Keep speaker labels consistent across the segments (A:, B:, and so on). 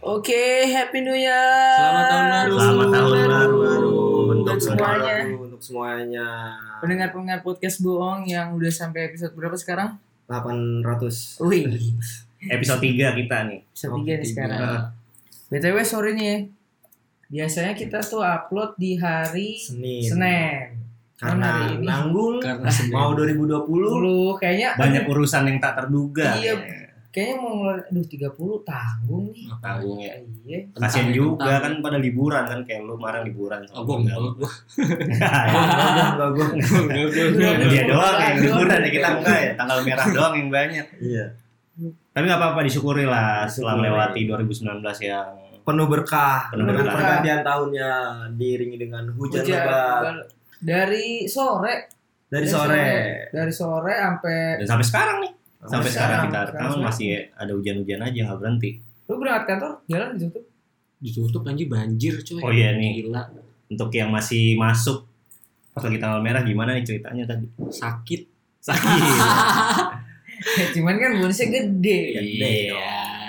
A: Oke, happy new year.
B: Selamat tahun baru.
C: Selamat tahun baru untuk
A: Untuk
C: semuanya.
A: semuanya.
D: untuk semuanya
A: Pendengar-pendengar podcast bohong yang udah sampai episode berapa sekarang?
D: 800
A: Wih,
C: Episode 3 kita nih.
A: episode tiga nih
D: Tiga.
A: sekarang.
C: Nah,
A: BTW sore nih ya. Biasanya kita tuh upload di hari
D: Senin
A: Senin. hari
D: karena
A: ini.
D: nanggung
B: Karena sedih.
D: mau 2020
A: Dulu kayaknya
C: banyak urusan yang tak terduga.
A: Iya. kayaknya mau ngeluarin aduh 30 tanggung nih.
C: Tanggung ya.
A: Iya.
C: Kasian juga kan pada liburan kan kayak lu kemarin liburan. Iya,
B: Oh, gua enggak. Gua
D: Enggak, enggak, enggak.
B: enggak, gua enggak.
C: Nah, Dia doang yang liburan ya kita enggak ya. Tanggal merah doang yang banyak.
D: Iya.
C: Tapi nggak apa-apa disyukuri lah setelah
D: Syukuri.
C: melewati 2019 yang
D: penuh berkah
C: Penuh
D: dengan
C: berkah.
D: pergantian tahunnya diiringi dengan hujan,
A: Hujan
D: lebat
A: lebat. Dari sore,
D: dari sore
A: dari sore sampai
C: dan sampai sekarang nih. Sampai sekarang kita
A: sekarang,
C: rekaman
A: sekarang.
C: masih ada hujan-hujan aja nggak berhenti.
A: lu berangkat kantor jalan gitu tuh.
B: Ditutup anjir banjir coy.
C: Oh, iya nih.
B: Gila,
C: Untuk yang masih masuk pas lagi tanggal merah gimana nih ceritanya tadi?
B: sakit.
C: Sakit.
A: Cuman kan bonusnya gede.
B: Iya.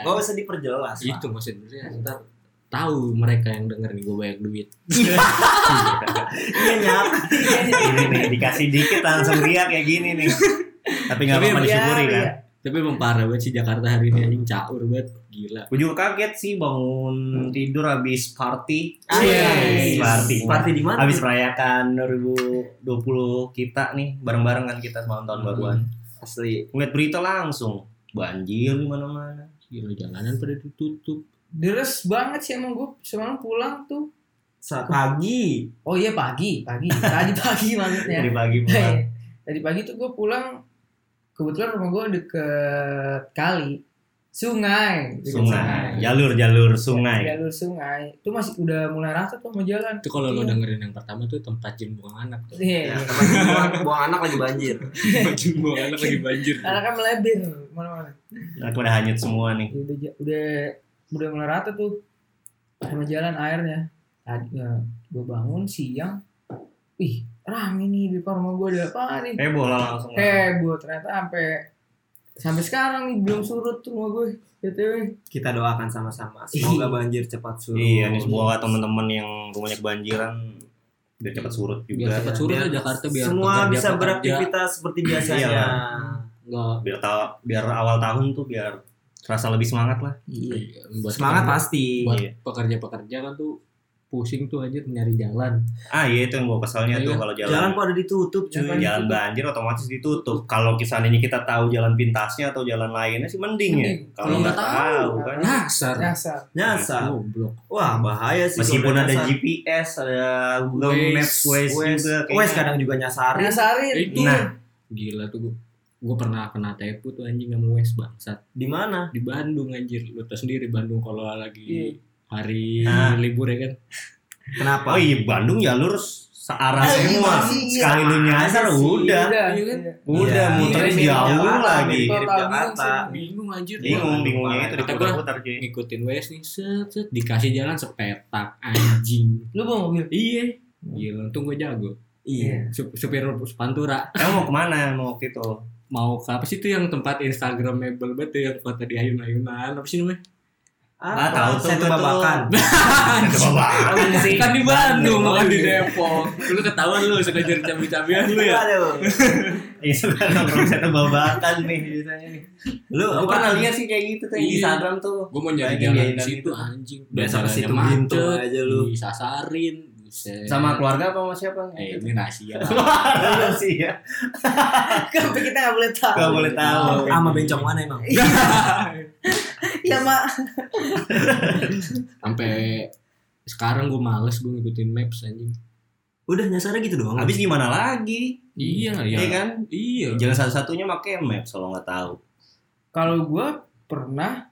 D: Gak usah diperjelas Pak.
B: Itu maksudnya ntar tahu mereka yang denger nih gue banyak duit.
D: Iya, Nyap.
C: ini nih dikasih dikit langsung riak kayak gini nih tapi nggak
B: Tapi
C: apa-apa
B: emang
C: disyukuri
A: iya,
C: kan
A: iya.
B: Tapi emang parah banget sih Jakarta hari ini anjing caur banget. Gila.
C: gue juga kaget sih bangun tidur habis party
B: Iya.
C: Yes. Party.
D: Party di mana?
C: habis merayakan 2020 kita nih bareng-bareng kan kita semalam tahun baruan
D: asli.
C: ngeliat berita langsung banjir di mana-mana
B: Gila jalanan pada ditutup.
A: Deres banget sih emang gue semalam pulang tuh.
D: Saat pagi.
A: Oh iya pagi, pagi. Tadi pagi maksudnya. Iya.
C: dari pagi pulang
A: Tadi pagi tuh gue pulang kebetulan rumah gue deket kali sungai, Deket
C: sungai Iya. jalur-jalur sungai
A: jalur sungai itu masih udah mulai rata tuh mau jalan
B: Itu kalau lo dengerin yang pertama tuh tempat jin buang anak tuh.
A: iya iya.
D: Ya, tempat buang, buang anak lagi banjir.
B: Tempat jin buang anak lagi banjir.
A: karena kan melebar mana-mana
C: aku udah hanyut semua nih
A: udah ja- udah udah mulai rata tuh sama jalan airnya tadi gue bangun siang ih rame nih di depan rumah gue ada apa nih
C: heboh lah langsung
A: Iya. heboh Eh, ternyata sampai sampai sekarang nih belum surut tuh rumah gue btw
D: Kita doakan sama-sama. Semoga
A: Ih.
D: banjir cepat surut.
C: iya nih semua teman-teman yang rumahnya kebanjiran biar cepat surut
B: Biar
C: juga
B: cepat surut lah Jakarta biar
D: semua
B: pekerja,
D: bisa
B: pekerja.
D: beraktivitas seperti
C: Iya.
D: biasanya.
B: Enggak.
C: biar ta- biar awal tahun tuh biar terasa lebih semangat lah.
A: iya
B: Buat
D: Semangat
B: pekerja-
D: pasti.
B: Buat
C: Iya.
B: pekerja-pekerja kan tuh pusing tuh aja nyari jalan.
C: Ah iya itu yang gua kesalnya
B: Iya.
C: tuh kalau jalan
D: Jalan
C: jalan,
D: kok ada ditutup cuy.
C: banjir otomatis ditutup. Kalau kisarannya kita tahu jalan pintasnya atau jalan lainnya sih mending ya.
A: Mending.
C: Kalau nggak tahu kan.
B: Iya, Nyasar.
A: nyasar
D: Nyasar.
B: Goblok.
D: Wah bahaya sih.
C: Iya. Meskipun
D: kalau
C: ada
D: nyasar.
C: GPS, ada Google
B: Waze,
C: Maps, Waze,
D: Wes,
C: juga. kayaknya.
D: Wes kadang juga nyasarin.
A: nyasarin
B: Itu.
C: Nah.
B: Gila tuh gue. Gue pernah kena tepu tuh anjing sama Wes bangsat.
D: Di mana?
B: Di Bandung anjir. Lu tau sendiri Bandung kalau
A: Iya.
B: lagi hari
C: Nah.
B: libur ya kan.
C: Oh
D: Kenapa?
C: iya Bandung jalur searah
A: Eh,
C: semua.
A: iya.
C: Sekali lu nyasar
D: Iya.
C: udah,
B: Iya kan?
A: iya.
C: udah
D: Iya.
C: muterin
D: Mirip
C: jauh
D: Jakarta,
C: lagi.
B: iya.
D: mirip
A: Total
D: Jakarta.
A: bingung
B: Bingung anjir.
C: Bingung bingungnya itu
B: Kata gua,
C: diputar-putar cuy.
B: Ngikutin Wes nih set, set. dikasih jalan sepetak anjing.
A: lu bawa mobil Oh.
B: iya. Gila untung gue jago.
D: Iya.
B: Sup- Supir Pantura
C: Kamu mau kemana emang waktu itu?
B: mau ke apa sih itu yang tempat Instagramable banget tuh yang foto di ayun-ayunan apa sih namanya?
C: Ah, tahu tuh Kan.
D: Saya
C: gua tuh.
D: babakan.
C: Kebawaan Iya sih.
B: Kan di Bandung bukan di Depok. Lu ketahuan lu suka jadi cabai-cabian lu ya.
D: Aduh.
C: Iya, sebenarnya nongkrong satu babakan nih biasanya nih.
D: Lu
C: Gue
D: apa?
C: pernah lihat sih kayak gitu tuh yang di
B: Iya.
C: Instagram tuh.
B: Gue mau nyari
C: Bayangin
B: jalan
C: jalan
B: di situ
C: itu.
B: anjing.
D: Biasa
B: Jalannya
D: ke situ
B: macet,
C: gitu
D: bintu aja lu.
B: Disasarin. Buset.
C: Sama keluarga apa sama siapa?
B: Eh ini rahasia. lah.
C: Keluarga sih ya.
A: kan kita nggak boleh tahu
C: Gak boleh tahu.
D: Sama bencong mana emang?
A: ya mak
B: Sampai sekarang gue males gue ngikutin maps anjing.
D: Udah nyasarnya gitu doang.
C: Habis gimana lagi?
B: Iya ya.
C: Iya kan?
B: Iya.
C: Jalan satu-satunya pakai map kalau nggak tahu.
A: kalau gua pernah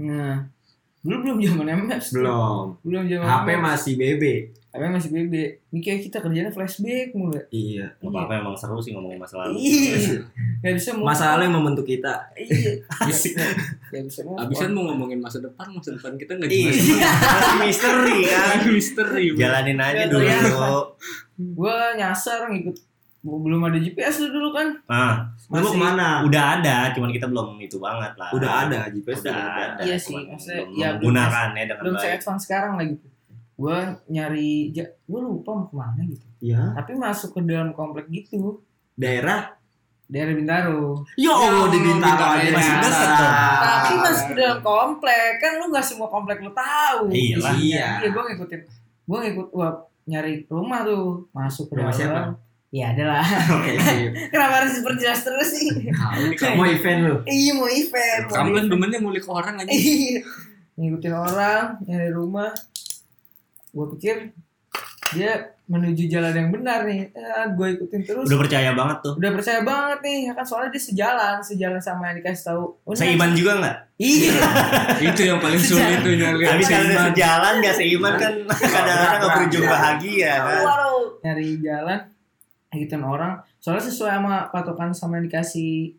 A: nah dulu belum zaman MS tuh.
D: belum.
A: belum zaman
D: HP
A: MS.
D: masih BB.
A: HP masih BB ini kayak kita kerjanya flashback mulu ya.
D: Iya.
C: Gak apa-apa emang seru sih ngomongin masa
B: Iya.
C: lalu.
A: Ih,
C: Iya.
A: nggak bisa move
D: Masa lalu
A: on.
D: yang membentuk kita.
A: iya
B: Abis-
A: nggak bisa move
B: Abisan
A: on.
B: mau ngomongin masa depan, masa depan kita nggak
C: Iya.
B: jelas.
C: Masih misteri kan.
B: Misteri. bro.
C: Jalanin aja
A: Iya,
C: dulu.
A: gua nyasar ngikut belum ada GPS tuh dulu kan
C: Nah,
D: Lu mau kemana?
C: udah ada, cuman kita belum itu banget lah.
D: Udah ada GPS
C: Udah ada.
A: Iya sih,
C: cuman
A: maksudnya,
C: belum
A: ya,
C: menggunakannya dengan
D: Nah,
A: belum se
C: baik.
D: iya.
A: advance sekarang lagi gue nyari ja- gue lupa mau kemana gitu
D: Ya.
A: tapi masuk ke dalam komplek gitu
D: Daerah?
A: daerah Bintaro
D: Ya Allah di Bintaro
B: Bintaro
D: aja
B: aja.
D: masih dekat dong.
A: tapi masuk
D: iya.
A: ke dalam komplek kan lu nggak semua komplek lu tahu
C: Iyalah.
D: Iya.
A: iya gue ngikutin gue ngikut gua nyari rumah tuh masuk ke
D: Rumah
A: dalam
D: siapa?
A: ya adalah kenapa harus diperjelas terus sih
D: Kamu mau event lu?
A: iya mau event
B: Kamu kan demennya ngulik orang aja.
A: Iya. ngikutin orang nyari rumah gue pikir dia menuju jalan yang benar nih gue ikutin terus
C: Udah percaya banget tuh.
A: udah percaya banget nih ya kan soalnya dia sejalan sejalan sama yang dikasih tahu Udah.
C: Seiman juga nggak?
A: iya
B: itu yang paling sulit tuh nyari.
C: Habis kalau udah
B: Seiman.
C: sejalan nggak seiman kan kadang-kadang nggak berujung
D: Iya.
C: bahagia kan.
A: Waduh. nyari jalan ngikutin orang soalnya sesuai sama patokan sama yang dikasih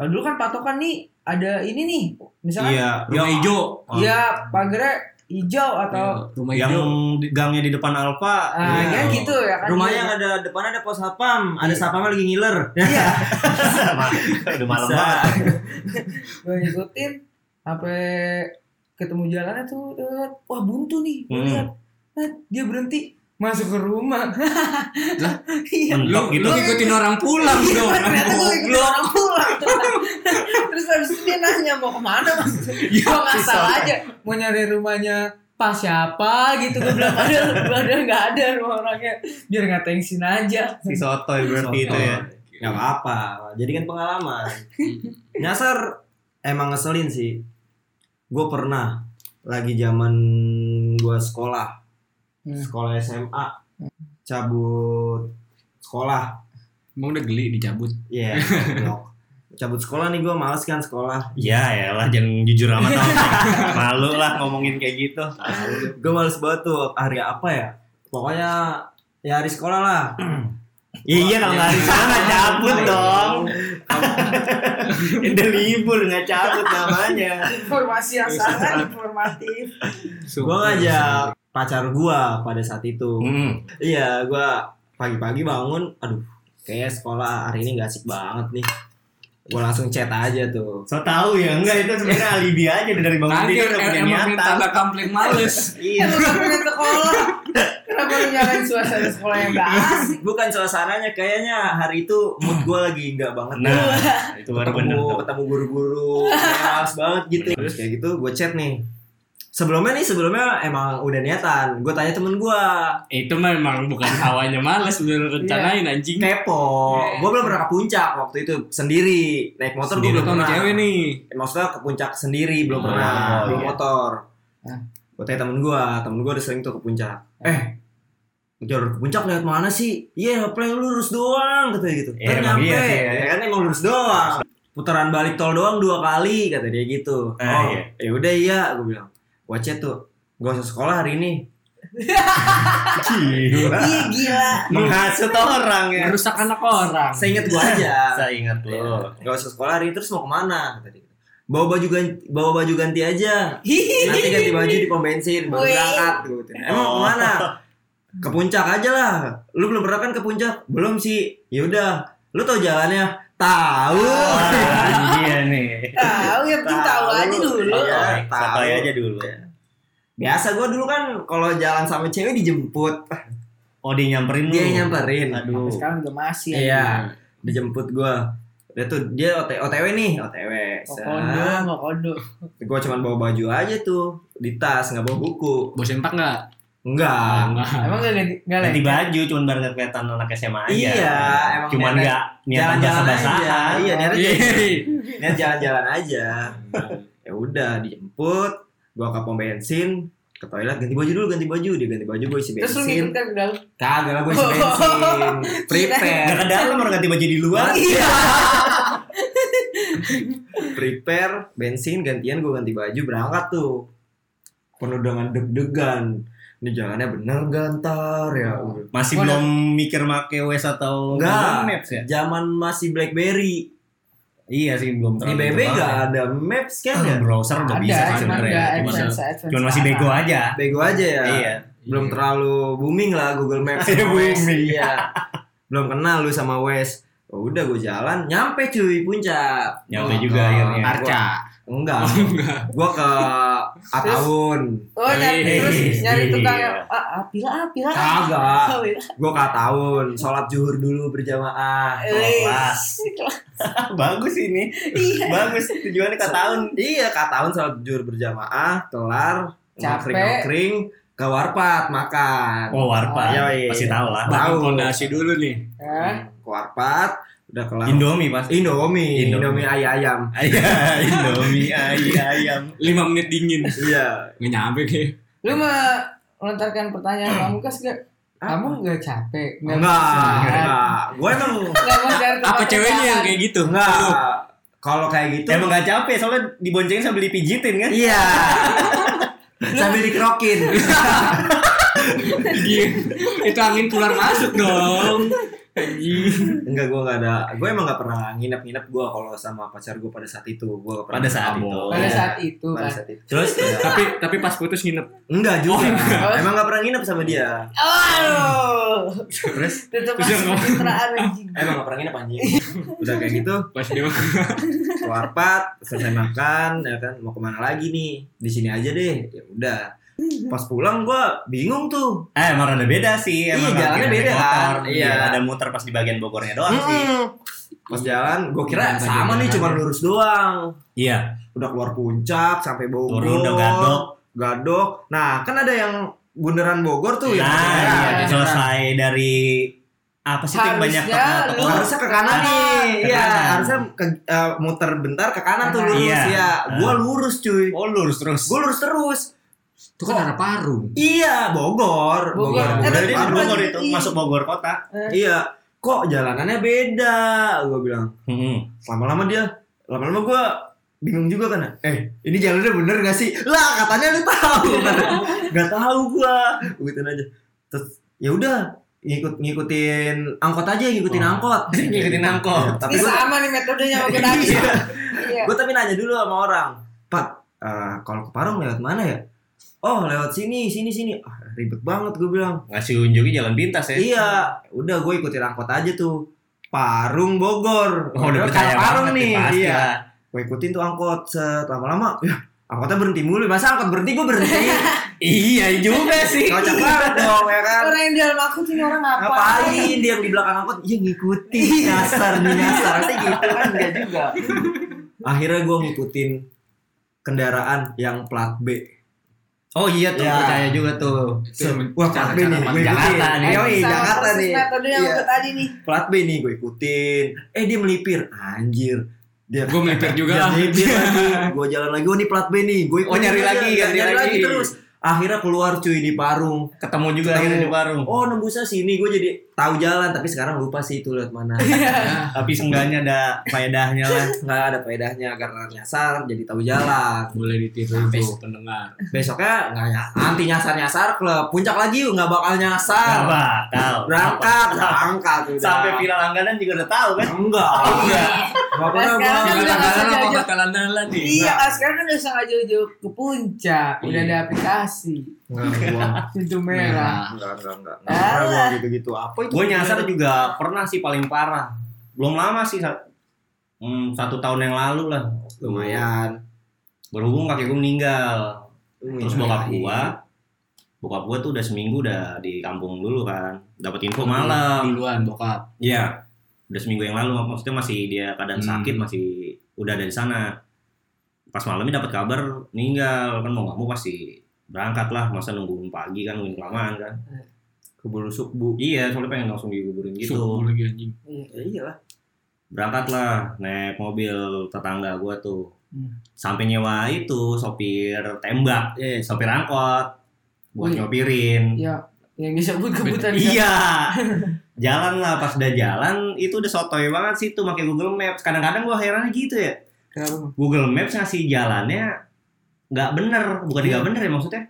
A: kalau dulu kan patokan nih ada ini nih misalnya
C: Iya,
B: Rumah
C: yang-
B: hijau. Iya,
C: Oh.
A: ya pagarnya hijau atau
B: Rumah
C: yang
B: hijau.
C: di- gangnya di depan Alfa.
A: ah,
C: iya.
A: ya gitu ya kan
D: Rumahnya yang ada depan ada pos satpam, ada satpamnya lagi ngiler.
A: iya
C: udah malam
D: Bisa.
C: banget.
A: gue ngikutin sampai ketemu jalannya tuh deket. wah buntu nih Gua
C: Hmm.
A: lihat. Eh, dia berhenti masuk ke rumah iya
B: Lu,
C: Mentok gitu.
B: lu ngikutin orang pulang
A: Iya,
B: dong.
A: ternyata gue
B: Goblok.
A: ikutin orang pulang terus habis itu dia nanya mau kemana mas gue ngasal aja mau nyari rumahnya pas siapa gitu gue bilang padahal padahal nggak ada rumah orangnya biar nggak tensin aja
C: Si sotoy berarti
B: Gitu
C: itu
B: Iya,
C: ya.
D: Gak apa-apa, jadi kan pengalaman. Nyasar emang ngeselin sih. Gue pernah lagi zaman gue sekolah,
A: Hmm.
D: sekolah SMA, cabut sekolah,
B: Emang udah geli dicabut.
D: ya, cabut sekolah nih gue males kan sekolah,
C: Ya elah jangan jujur amat tau. Malu lah ngomongin kayak gitu.
D: gue males banget tuh hari apa ya, pokoknya ya hari sekolah lah.
C: Ya iya kalau nggak bisa nggak cabut dong. Iya. Udah libur nggak cabut namanya.
A: informasi yang sangat informatif
D: Gue ngajak pacar gue pada saat itu.
C: Hmm.
D: Iya, gua pagi-pagi bangun, aduh, kayaknya sekolah hari ini gak asik banget nih. Gua langsung chat aja tuh.
C: So tau ya enggak itu sebenarnya alibi aja dari bangun
B: Kaget
C: tidur udah punya
B: er, emang minta
C: niatan.
B: tanda komplek males.
A: Kan
D: Iya,
A: lu pengen sekolah kenapa lu nyalain suasana sekolah yang gak asik
D: bukan suasananya kayaknya hari itu mood gua lagi nggak banget.
C: Nah itu baru bener.
D: ketemu,
C: tuh.
D: ketemu guru-guru, males banget gitu.
C: Bener.
D: Terus kayak gitu, gue chat nih. Sebelumnya nih, sebelumnya emang udah niatan. Gue tanya temen gua
B: Itu memang bukan hawanya males udah rencanain anjing.
D: kepo. Gue belum pernah ke puncak waktu itu sendiri naik motor. Gue
B: Sendiri
D: belum
B: sama
D: pernah.
B: cewek nih.
D: maksudnya ke puncak sendiri belum
B: Oh,
D: pernah
C: iya.
D: belum
C: Ah.
D: motor
A: Hah?
D: gue tanya temen gue temen gue udah sering tuh ke puncak eh jalur ke puncak lewat mana sih iya play lurus doang katanya gitu
C: Iya,
D: Ntar
C: emang
D: nyampe.
C: iya sih,
D: ya.
C: ya.
D: kan emang lurus doang putaran balik tol doang dua kali kata dia gitu
C: Ah,
D: oh
C: iya.
D: ya udah iya gue bilang gue chat tuh gue usah sekolah hari ini
C: Gila.
A: iya gila
C: Menghasut orang ya.
B: Merusak anak orang.
D: saya
C: gitu
D: inget gue aja
C: Saya ingat lo.
D: Gak usah sekolah hari ini, terus mau kemana kata dia gitu. bawa baju ganti bawa baju ganti aja nanti ganti baju di pom bensin baru
A: Wih.
D: berangkat gitu. emang
C: Oh.
D: kemana ke puncak aja lah lu belum pernah kan ke puncak belum sih yaudah lu tau jalannya tahu
C: Wah, Iya nih.
A: tahu yang penting tahu aja dulu
D: Iya,
C: Sotoy,
D: tahu. Iya.
C: Sotoy aja dulu.
D: biasa gua dulu kan kalau jalan sama cewek dijemput
C: Oh dia nyamperin lu.
D: dia yang nyamperin
A: Sampai
C: Aduh.
A: sekarang juga masih aja.
B: Ya.
D: iya dijemput gua udah tuh dia OT- otw nih otw
A: Mau kondo
D: Set.
A: mau kondo
D: gua cuman bawa baju aja tuh di tas nggak bawa buku
B: Bos empat enggak? Ah.
D: enggak
A: emang gak ganti gak
C: Ganti baju cuman baru kelihatan anak SMA aja.
D: Iya, emang
C: Cuman
D: niatnya-
C: nggak niatan
D: jalan-jalan
C: basah-basahan.
D: aja. Iya, niatnya
B: Iya.
D: Niat jalan-jalan aja. Ya udah dijemput, gua ke pom bensin, ke toilet ganti baju dulu ganti baju dia ganti baju gue isi
A: terus lu Oh.
D: bensin
A: ngikut kan ke dalam
D: kagak lah gue isi bensin
C: Gak
D: prepare
C: ke dalam orang ganti baju di luar.
A: iya
D: prepare bensin gantian gue ganti baju berangkat tuh penuh dengan deg-degan ini jalannya bener gantar ya
A: Oh.
C: Masih
A: Waduh.
C: belum mikir make WS atau
D: Nggak.
C: Google Maps ya?
D: zaman masih blackberry
C: Iya sih belum
D: di
C: terlalu
D: BB
C: terlalu.
D: gak ada maps kan ya
C: Ah, browser udah
A: ada
C: bisa sih
A: cuman
C: sebenarnya.
A: gak
C: Cuman-
A: advance advance
C: Cuman masih bego aja.
D: bego aja ya
C: Iya.
D: belum terlalu booming lah Google Maps
C: Iya, booming.
D: iya belum kenal lu sama Wes Oh, udah gue jalan nyampe cuy puncak
C: Nyampe
D: Gua
C: juga
D: ke
C: akhirnya.
D: Arca enggak
B: enggak
D: gue ke Ataun
A: Oh, nyari,
B: Iya.
A: terus nyari tukang
C: Iya.
A: ah, apila apila.
D: Kagak.
A: Oh, iya.
D: gue ke Ataun sholat zuhur dulu berjamaah
A: Eh,
C: kelas.
A: kelas.
C: Ah, bagus ini
A: Iya.
C: bagus tujuannya ke tahun
D: iya ke Ataun sholat zuhur berjamaah kelar
A: Capek.
D: ngakring-ngakring ke warpat makan
C: oh warpa
D: Oh, iya.
C: pasti tahu lah
D: Ba-
B: bangun
D: Tahu.
B: fondasi dulu nih
A: Hah?
D: ke warpat udah kelar
C: Indomie pasti
D: Indomie,
C: Indomie.
D: Indomie, ayam.
C: Iya, Indomie ayam ayam
B: lima menit dingin
D: Iya.
B: nggak nyampe deh
A: Lu mah melontarkan pertanyaan kamu kas gak? Kamu gak capek?
D: Enggak,
A: bosan?
D: enggak. Gue emang
A: Gak mau cari tempat
B: apa ceweknya yang
A: kencan?
B: kayak gitu
D: enggak. Kalau kayak gitu
C: emang gak capek soalnya diboncengin sambil dipijitin kan
D: Iya. Sambil dikerokin.
B: Iya. itu angin keluar masuk dong Anjing.
D: Enggak, gue enggak ada. Gue emang enggak pernah nginep-nginep gue kalau sama pacar gue pada saat itu. Gue enggak pernah
C: Pada saat
D: mabok.
C: itu.
A: Pada
C: Iya.
A: saat itu
D: gitu? Pada
A: kan.
D: saat itu.
C: terus
B: tapi tapi pas putus nginep
D: Enggak juga.
B: Oh, enggak.
D: Emang enggak pernah nginep sama dia.
A: Oh,
D: Terus
A: tetap
B: Terus yang
A: masih
B: ngomong.
A: pencitraan anjing.
D: emang enggak pernah nginep anjing. Udah kayak gitu,
B: pas dia
D: keluar pat, selesai makan, ya kan mau kemana lagi nih? Di sini aja deh. Ya udah. Pas pulang gue bingung tuh.
C: eh emang rada beda sih emang
D: Iya, jalannya
C: akhirnya
D: beda
C: ada
D: kan.
C: motor.
D: Iya.
C: iya ada muter pas di bagian Bogornya doang sih
D: Mm-mm. Pas jalan, gue
B: Jalan
D: kira sama
B: jalan
D: nih
B: aja.
D: cuma lurus doang.
C: iya
D: Udah keluar puncak sampai Bogor.
C: turun udah gadok
D: Gadok. Nah, kan ada yang bundaran Bogor tuh yang
C: nah
A: iya,
C: iya,
A: iya.
C: selesai dari apa sih tuh yang banyak
A: Harusnya
C: tepal-
A: lu-
C: tepal-
D: harusnya ke kanan nih.
C: Ke
D: Iya,
C: kanan.
D: harusnya ke- eh, muter bentar ke kanan tuh
A: Kanan.
D: lurus
C: Iya.
D: ya. Gua lurus cuy.
C: oh lurus terus
D: Gua lurus terus.
B: itu kan arah parung
D: Iya, Bogor.
A: Bogor.
D: Bogor.
A: Eh,
C: Udah
A: tapi
C: dia di
A: Bogor
C: Bogor
A: lagi-
C: itu masuk Bogor kota.
D: Iya. Kok jalanannya beda? Gua bilang.
C: Hmm.
D: lama-lama dia lama-lama gue bingung juga kan eh ini jalannya bener gak sih lah katanya lu tahu nggak tahu gue gituin aja terus ya udah ngikut ngikutin angkot aja ngikutin
C: Oh.
D: angkot
C: Ngikutin
B: Oh.
C: angkot.
D: Ya, tapi
A: Ini
D: gue
A: sama nih metodenya sama kita.
D: Iya.
A: Iya.
D: gue tapi nanya dulu sama orang pak eh, kalau ke Parung lewat mana ya oh lewat sini sini sini ah, ribet banget gue bilang
C: Ngasih unjuknya jalan pintas ya.
D: Iya, udah gue ikutin angkot aja tuh. Parung Bogor.
C: Oh, udah
D: Padahal
C: percaya
D: kayak Parung
C: banget
D: nih.
C: nih, pasti
D: iya.
C: lah.
D: Gue ikutin tuh angkot set lama-lama. Ya, angkotnya berhenti mulu. Masa angkot berhenti gue berhenti.
C: Iya juga sih.
D: Kocak banget dong ya kan.
A: Orang yang di dalam aku ini orang ngapain?
D: Ngapain dia yang di belakang angkot? Ya ngikutin
C: Iya.
D: nyasar nih nyasar. Nanti gitu kan enggak juga. Akhirnya gue ngikutin kendaraan yang plat B.
C: Oh iya tuh
D: Iya.
C: percaya juga tuh.
B: Itu yang
D: Wah,
B: cara-
D: plat B
B: cara
D: nih.
B: pas
D: Gue
B: jalan.
D: ikutin.
C: Jakarta nih.
D: Yoi,
A: Sama
D: Iya, Jakarta
A: persis
D: nih.
A: Metode yang
D: Iya.
A: aku tadi nih.
D: plat B nih gue ikutin eh dia melipir anjir dia
B: gue melipir juga
D: dia
B: lah
C: Iya,
D: melipir lagi gue jalan lagi oh nih plat B nih gue
C: Oh, nyari lagi,
D: nyari,
C: nyari
D: lagi.
C: lagi.
D: terus akhirnya keluar cuy di Parung
C: Ketemu juga
D: Ketemu.
C: akhirnya di warung.
D: oh nembusnya sini gue jadi tahu jalan tapi sekarang lupa sih itu lewat mana
B: Iya.
C: Tapi seenggaknya ada faedahnya lah.
D: nggak ada faedahnya karena nyasar jadi tahu jalan
B: boleh ditiru
D: Sampai
B: tuh pendengar
D: besoknya nggak ya anti nyasar nyasar klub puncak lagi yuk, nggak bakal
C: Gak
D: nyasar
C: bakal.
D: berangkat berangkat udah.
C: Sampai viral langganan juga udah tahu kan.
D: enggak enggak pernah
A: Sekarang kan
D: gua.
A: udah Iya. nggak
B: Jalan-jalan Iya. apa
A: sengaja.
B: bakalan-jalan nih?
A: Iya, kan sekarang kan udah sangat jauh-jauh ke puncak, udah
B: Iya.
A: ada aplikasi
D: Enggak, gua.
A: pintu merah.
D: Enggak, enggak, enggak. Enggak
A: Alah.
D: pernah gua gitu-gitu. Apa itu?
C: Gue nyasar juga pernah sih paling parah. Belum lama sih. sa- Hmm, satu tahun yang lalu lah.
D: Lumayan.
C: Berhubung kakek gue meninggal. Terus bokap
D: Lumayan.
C: gua Bokap gua tuh udah seminggu udah di kampung dulu kan Dapat info malam
B: duluan bokap
C: Iya Udah seminggu yang lalu Maksudnya masih dia keadaan
B: Hmm.
C: sakit Masih udah ada di sana Pas malamnya dapat kabar Meninggal Kan mau gak mau pasti Berangkat lah Masa nungguin pagi kan Nungguin kelamaan kan
D: keburu subuh.
C: Iya soalnya pengen langsung dikuburin
B: Subuh
C: gitu
B: lagi anjing
D: Ya iyalah.
C: Berangkat lah Naik mobil tetangga gua tuh
A: Hmm.
C: Sampai nyewa itu Sopir tembak
D: Eh,
C: Sopir angkot Buat
A: Wih.
C: nyopirin
A: Iya, yang disebut kebutuhan.
C: Iya. Jalan lah pas udah jalan itu udah sotoy banget sih tuh pakai Google Maps. Kadang-kadang gua heran gitu ya.
A: Kenapa? Bang?
C: Google Maps ngasih jalannya nggak bener, bukan nggak
B: Iya.
C: bener ya maksudnya.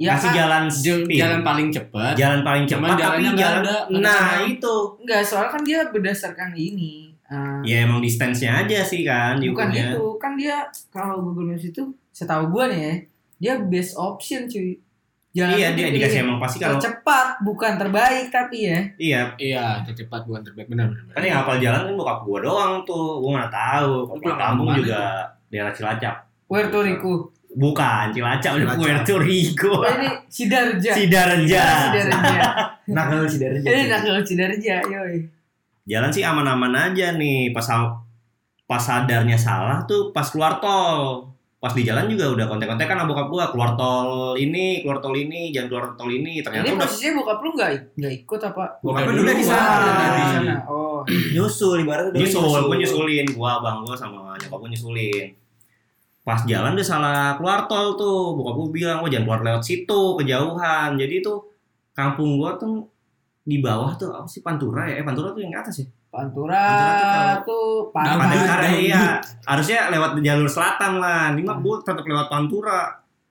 A: Ya,
C: ngasih
A: kan,
C: jalan
B: Jel-
C: speed.
B: jalan paling cepat
C: Jalan paling
B: Cuman
C: cepat tapi
B: jalannya nggak
C: jalan
B: ada, nggak
C: nah
B: ada.
C: itu.
A: enggak, soalnya kan dia berdasarkan ini. eh,
C: Ya emang distance-nya aja sih kan
A: bukan
C: diukurnya.
B: gitu.
A: itu, kan dia kalau Google Maps itu setahu gua nih ya, dia based option cuy. Jangan
C: iya dia dikasih emang pasti kalau
A: Tercepat bukan terbaik tapi ya.
C: iya
B: Iya, tercepat bukan terbaik benar benar.
C: kan yang hafal jalan kan bokap gua doang tuh gua nggak tahu
B: Lu
C: kalau
B: pulang
C: kampung
B: kampung
C: juga daerah Cilacap
A: Puerto Rico.
C: bukan Cilacap udah
D: Cilacap.
C: Puerto Rico
A: Oh, ini Sidarja.
C: Sidarja Iya,
A: Sidarja.
D: nakal si Nah, dari
A: Ini nah. nakal Sidarja, yoi.
C: jalan sih aman-aman aja nih pas pas sadarnya salah tuh pas keluar tol pas di jalan juga udah kontek-kontek kan bokap gua keluar tol ini keluar tol ini jangan keluar tol ini ternyata
A: Ini
C: udah
A: posisinya bokap lu nggak nggak ikut apa?
D: Bokapnya
B: Udah
D: dulu di
B: duluan.
D: sana.
A: Di
B: Di
A: sana.
B: sana.
A: Oh.
D: Nyusul ibaratnya dulu
C: nyusul gue nyusulin gue abang gue sama nyokap gue nyusulin pas jalan dia salah keluar tol tuh bokap gue bilang gue jangan keluar lewat situ kejauhan jadi tuh kampung gue tuh di bawah tuh apa sih pantura ya eh pantura tuh yang ke atas ya
A: Pantura
C: Pantura
A: tuh
B: Pantai
A: pantai.
B: Dapat.
C: Pantura
B: Dangdut.
C: iya harusnya lewat jalur selatan lah ini mah gue tetap lewat pantura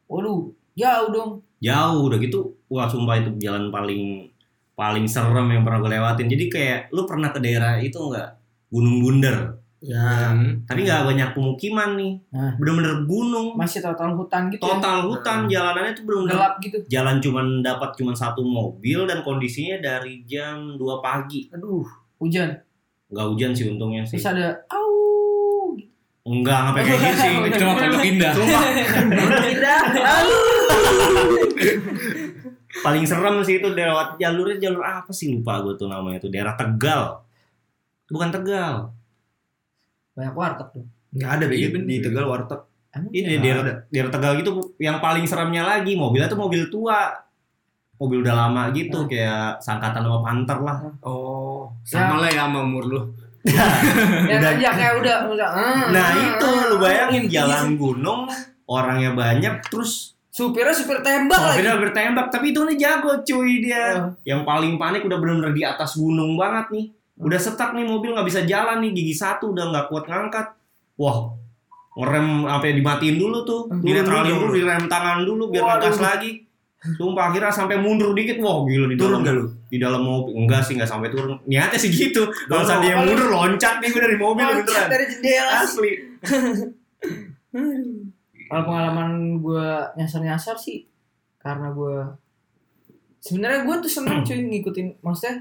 A: Waduh, jauh dong.
C: jauh udah gitu wah sumpah itu jalan paling paling serem yang pernah gue lewatin jadi kayak lu pernah ke daerah itu nggak Gunung Bunder
B: nah,
D: Ya.
C: tapi nggak banyak pemukiman nih
A: Hah.
C: bener-bener gunung
A: Masih total hutan gitu. ya.
C: total hutan jalanannya tuh belum
A: Iya. Gelap gitu.
C: jalan cuman dapat cuman satu mobil dan kondisinya dari jam 2 pagi
A: Aduh, hujan.
C: nggak hujan sih untungnya sih
A: Terus ada au.
C: nggak sampai kayak gitu sih
B: Itu mah pondok indah.
C: Sumpah, Iya.
A: Tidak. Au.
C: paling serem sih itu lewat jalurnya jalur apa sih lupa gue tuh namanya tuh daerah Tegal bukan Tegal
A: Banyak warteg tuh.
D: Enggak ada
B: Iya,
D: begitu
B: bener.
D: di Tegal warteg.
A: Emang iya?
C: ini
D: Nggak
C: daerah
D: ada.
C: daerah Tegal gitu yang paling seremnya lagi mobilnya tuh mobil tua mobil udah lama gitu kayak sangkatan sama panter lah
D: Oh.
B: Sama lah ya sama umur lu.
A: Ya,
D: Udah.
A: ya kayak udah udah. eh,
C: Nah
A: eh,
C: itu
A: eh,
C: lu bayangin
A: eh,
C: jalan gunung orangnya banyak terus
A: Supirnya supir tembak lagi.
C: mobilnya bertembak tapi itu nih jago cuy dia.
A: Oh.
C: Yang paling panik udah bener-bener di atas gunung banget nih. Udah setak nih mobil nggak bisa jalan nih gigi satu udah nggak kuat ngangkat. Wah ngerem sampai dimatiin dulu tuh.
A: Hmm.
C: Dinetralin
D: Turun
C: dulu, direm tangan dulu biar
A: Waduh.
C: ngegas lagi. Sumpah akhirnya sampai mundur dikit, wah gila di dalam
D: Turun enggak lu?
C: di dalam mobil enggak sih nggak sampai turun. Niatnya sih gitu. Kalau saat dia
A: Kalau-
C: mundur loncat nih gue dari mobil
A: Loncat
C: beneran.
A: dari jendela.
C: Asli.
A: Hmm. Kalau pengalaman gue nyasar-nyasar sih karena gue sebenarnya gue tuh seneng cuy ngikutin maksudnya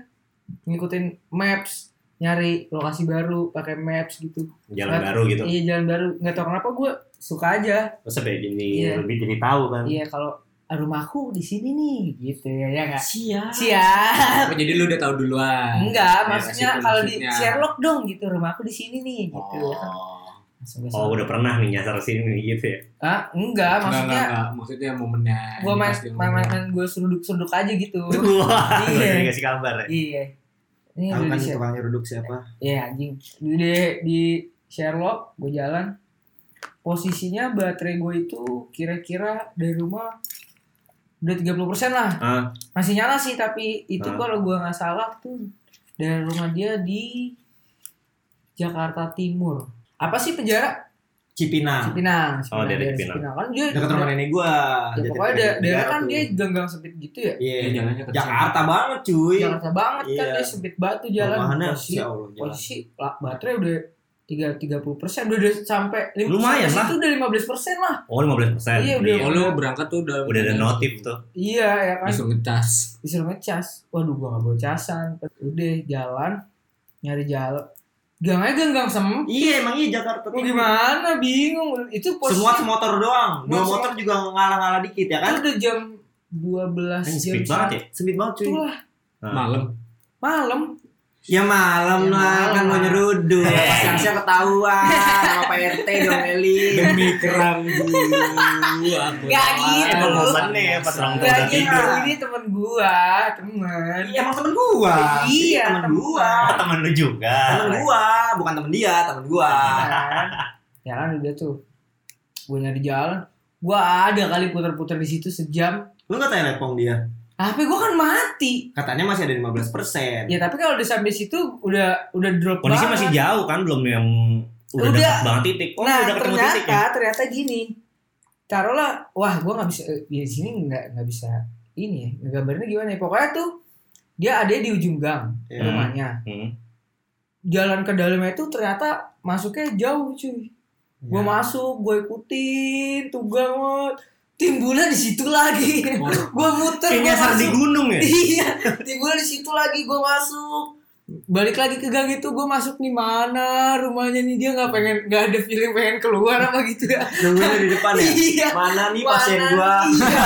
A: ngikutin maps nyari lokasi baru pakai maps gitu
C: Jalan baru gitu.
A: iya jalan baru nggak tau kenapa gue suka aja
C: Masa kayak gini
A: Iya.
C: lebih jadi tahu kan.
A: iya kalau "Ah, rumahku di sini nih gitu ya ya nggak
B: Siap.
A: siap
B: Oh, jadi lu udah tahu duluan.
A: enggak
B: Ya,
A: maksudnya
B: kasih
A: kalau di
B: maksudnya.
A: Sherlock dong gitu rumahku di sini nih gitu ya kan.
B: Oh.
A: Langsung ke
C: Oh
A: sana.
C: udah pernah nih nyasar sini nih gitu ya.
A: ah enggak
B: Enggak,
A: maksudnya
B: enggak, enggak. Maksudnya momennya.
A: gue main
B: Pas dia
A: main
B: ngomong.
A: main gue seruduk seruduk aja gitu
C: Wah,
A: Iya.
C: baru jadi kasih kabar ya.
A: iya ini
D: Tahu
A: udah
D: kan
A: di Sher-
D: tukangnya duduk siapa?
A: iya anjing Dulu deh di Sherlock gue jalan posisinya baterai gue itu kira-kira dari rumah udah 30% lah
C: Ah.
A: masih nyala sih tapi itu
C: Ah.
A: kalau gue nggak salah tuh dari rumah dia di Jakarta Timur apa sih penjara
D: Cipinang.
A: Cipinang
C: Oh, dari
A: daerah
C: Cipinang.
A: kan dia
D: Dekat rumah nenek gua.
A: ya,
D: Jati
A: pokoknya
D: Negara
A: da- daerah kan
D: tuh.
A: dia ganggang sempit gitu ya
D: Iya.
B: Iya, jalannya kecil.
D: Jakarta banget cuy.
A: Jakarta kan? banget kan
D: Iya.
A: dia sempit batu jalan Iya.
D: Rumahannya
A: posisi
D: ya Allah jalan.
A: posisi lah, baterai udah tiga tiga puluh persen udah, udah sampai lim-
C: Lumayan
A: sampai
C: lah.
A: situ udah lima belas persen lah
C: Oh 15 persen.
A: Iya, udah.
B: Oh, lu berangkat tuh udah
C: Udah ada notif tuh.
A: iya ya kan
B: Disuruh ngecas.
A: disuruh ngecas waduh gua gak bawa casan udah jalan nyari jalan gangnya ganggang sempit
D: Iya emang iya Jakarta.
A: Lu gimana bingung itu posisi
D: Semua semotor doang. Dua
A: Masih-
D: motor juga ngalah-ngalah dikit ya
A: itu
D: kan?
A: udah jam dua belas
C: Kan
A: jam
C: speed banget ya.
D: Sempit banget cuy.
A: satu lah
B: Malam.
A: malam
D: Ya malam
A: Ya
D: lah
A: malam.
D: kan mau nyeruduk. Pas Siang-siang ketahuan sama Pak RT dong Eli.
B: Demi kerang gua. aku
A: Gak
B: lawan.
A: gitu.
B: Emang
C: Bosannya ya, pas orang tua
A: gak
C: udah
A: gitu
C: tidur.
A: ini temen gua temen
D: Iya emang temen gua.
A: Iya,
D: temen
A: temen.
D: gua. Iya.
C: Ah, temen lu juga.
D: Temen gua, bukan temen dia, temen gua.
A: kan jalan udah tuh gue nyari jalan gue ada kali puter-puter di situ sejam
D: Lu nggak tanya telepon dia?
A: HP gue kan mati
D: Katanya masih ada 15 persen.
A: ya tapi kalau udah sampai situ udah udah drop banget.
C: Kondisi Eh. masih jauh kan belum yang udah,
A: Udah.
C: deket banget titik. Oh
A: nah
C: udah ketemu
A: ternyata
C: titik ya.
A: ternyata gini taruhlah wah gue nggak bisa eh, di sini nggak nggak bisa ini ya gambarnya gimana ya pokoknya tuh dia ada di ujung gang
D: Ya.
A: rumahnya
C: Hmm.
A: jalan ke dalamnya itu ternyata
C: Ya.
A: masuknya jauh cuy gue masuk gue ikutin tuh gang wot. timbulnya di situ lagi
B: Oh.
A: gue muter
C: Kayak
A: gua
C: nyasar di
A: masuk.
C: gunung ya?
A: iya timbulnya di situ lagi gue masuk balik lagi ke gang itu gue masuk di mana rumahnya nih dia nggak pengen nggak ada feeling pengen keluar apa gitu ya
D: Nunggunya di depan
C: Kan
D: ya.
A: Iya.
D: Mana nih pasien
A: Mana
D: gua?
A: nih? Iya.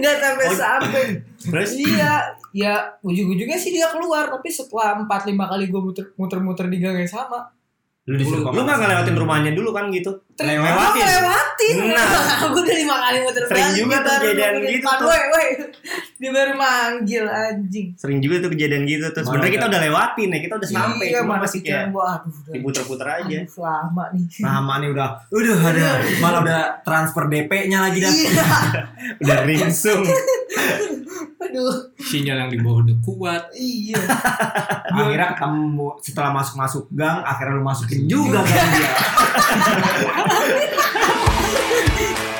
A: nggak sampai sampai
C: Oh, iya. Terus
A: iya ya ujung-ujungnya sih dia keluar tapi setelah empat lima kali gue muter muter-muter di gang yang sama
C: lu disuruh
B: Lu-
C: lu nggak ngelewatin rumahnya dulu kan gitu?
A: Gue Ah, lewatin.
C: Nah.
A: gue udah lima kali muter
C: Sering juga tuh kejadian gitu tuh.
A: Woi, woi. Dia baru manggil anjing.
C: Sering juga tuh kejadian gitu tuh.
D: Mana
C: Sebenarnya kita
D: ada-
C: udah lewatin ya, kita udah sampai. ya.
A: iya,
C: Cuma
A: mana
C: masih
A: pikiran
C: kayak
A: gua aduh udah
C: diputer-puter aja.
A: aduh, lama nih.
D: Nama nih udah. Udah ada. Malah udah transfer DP-nya lagi dah.
A: Iya.
C: Udah ringsung.
A: Aduh,
B: sinyal yang dibawa udah kuat
A: iya.
D: akhirnya ketemu setelah masuk masuk gang akhirnya lu masukin juga kan dia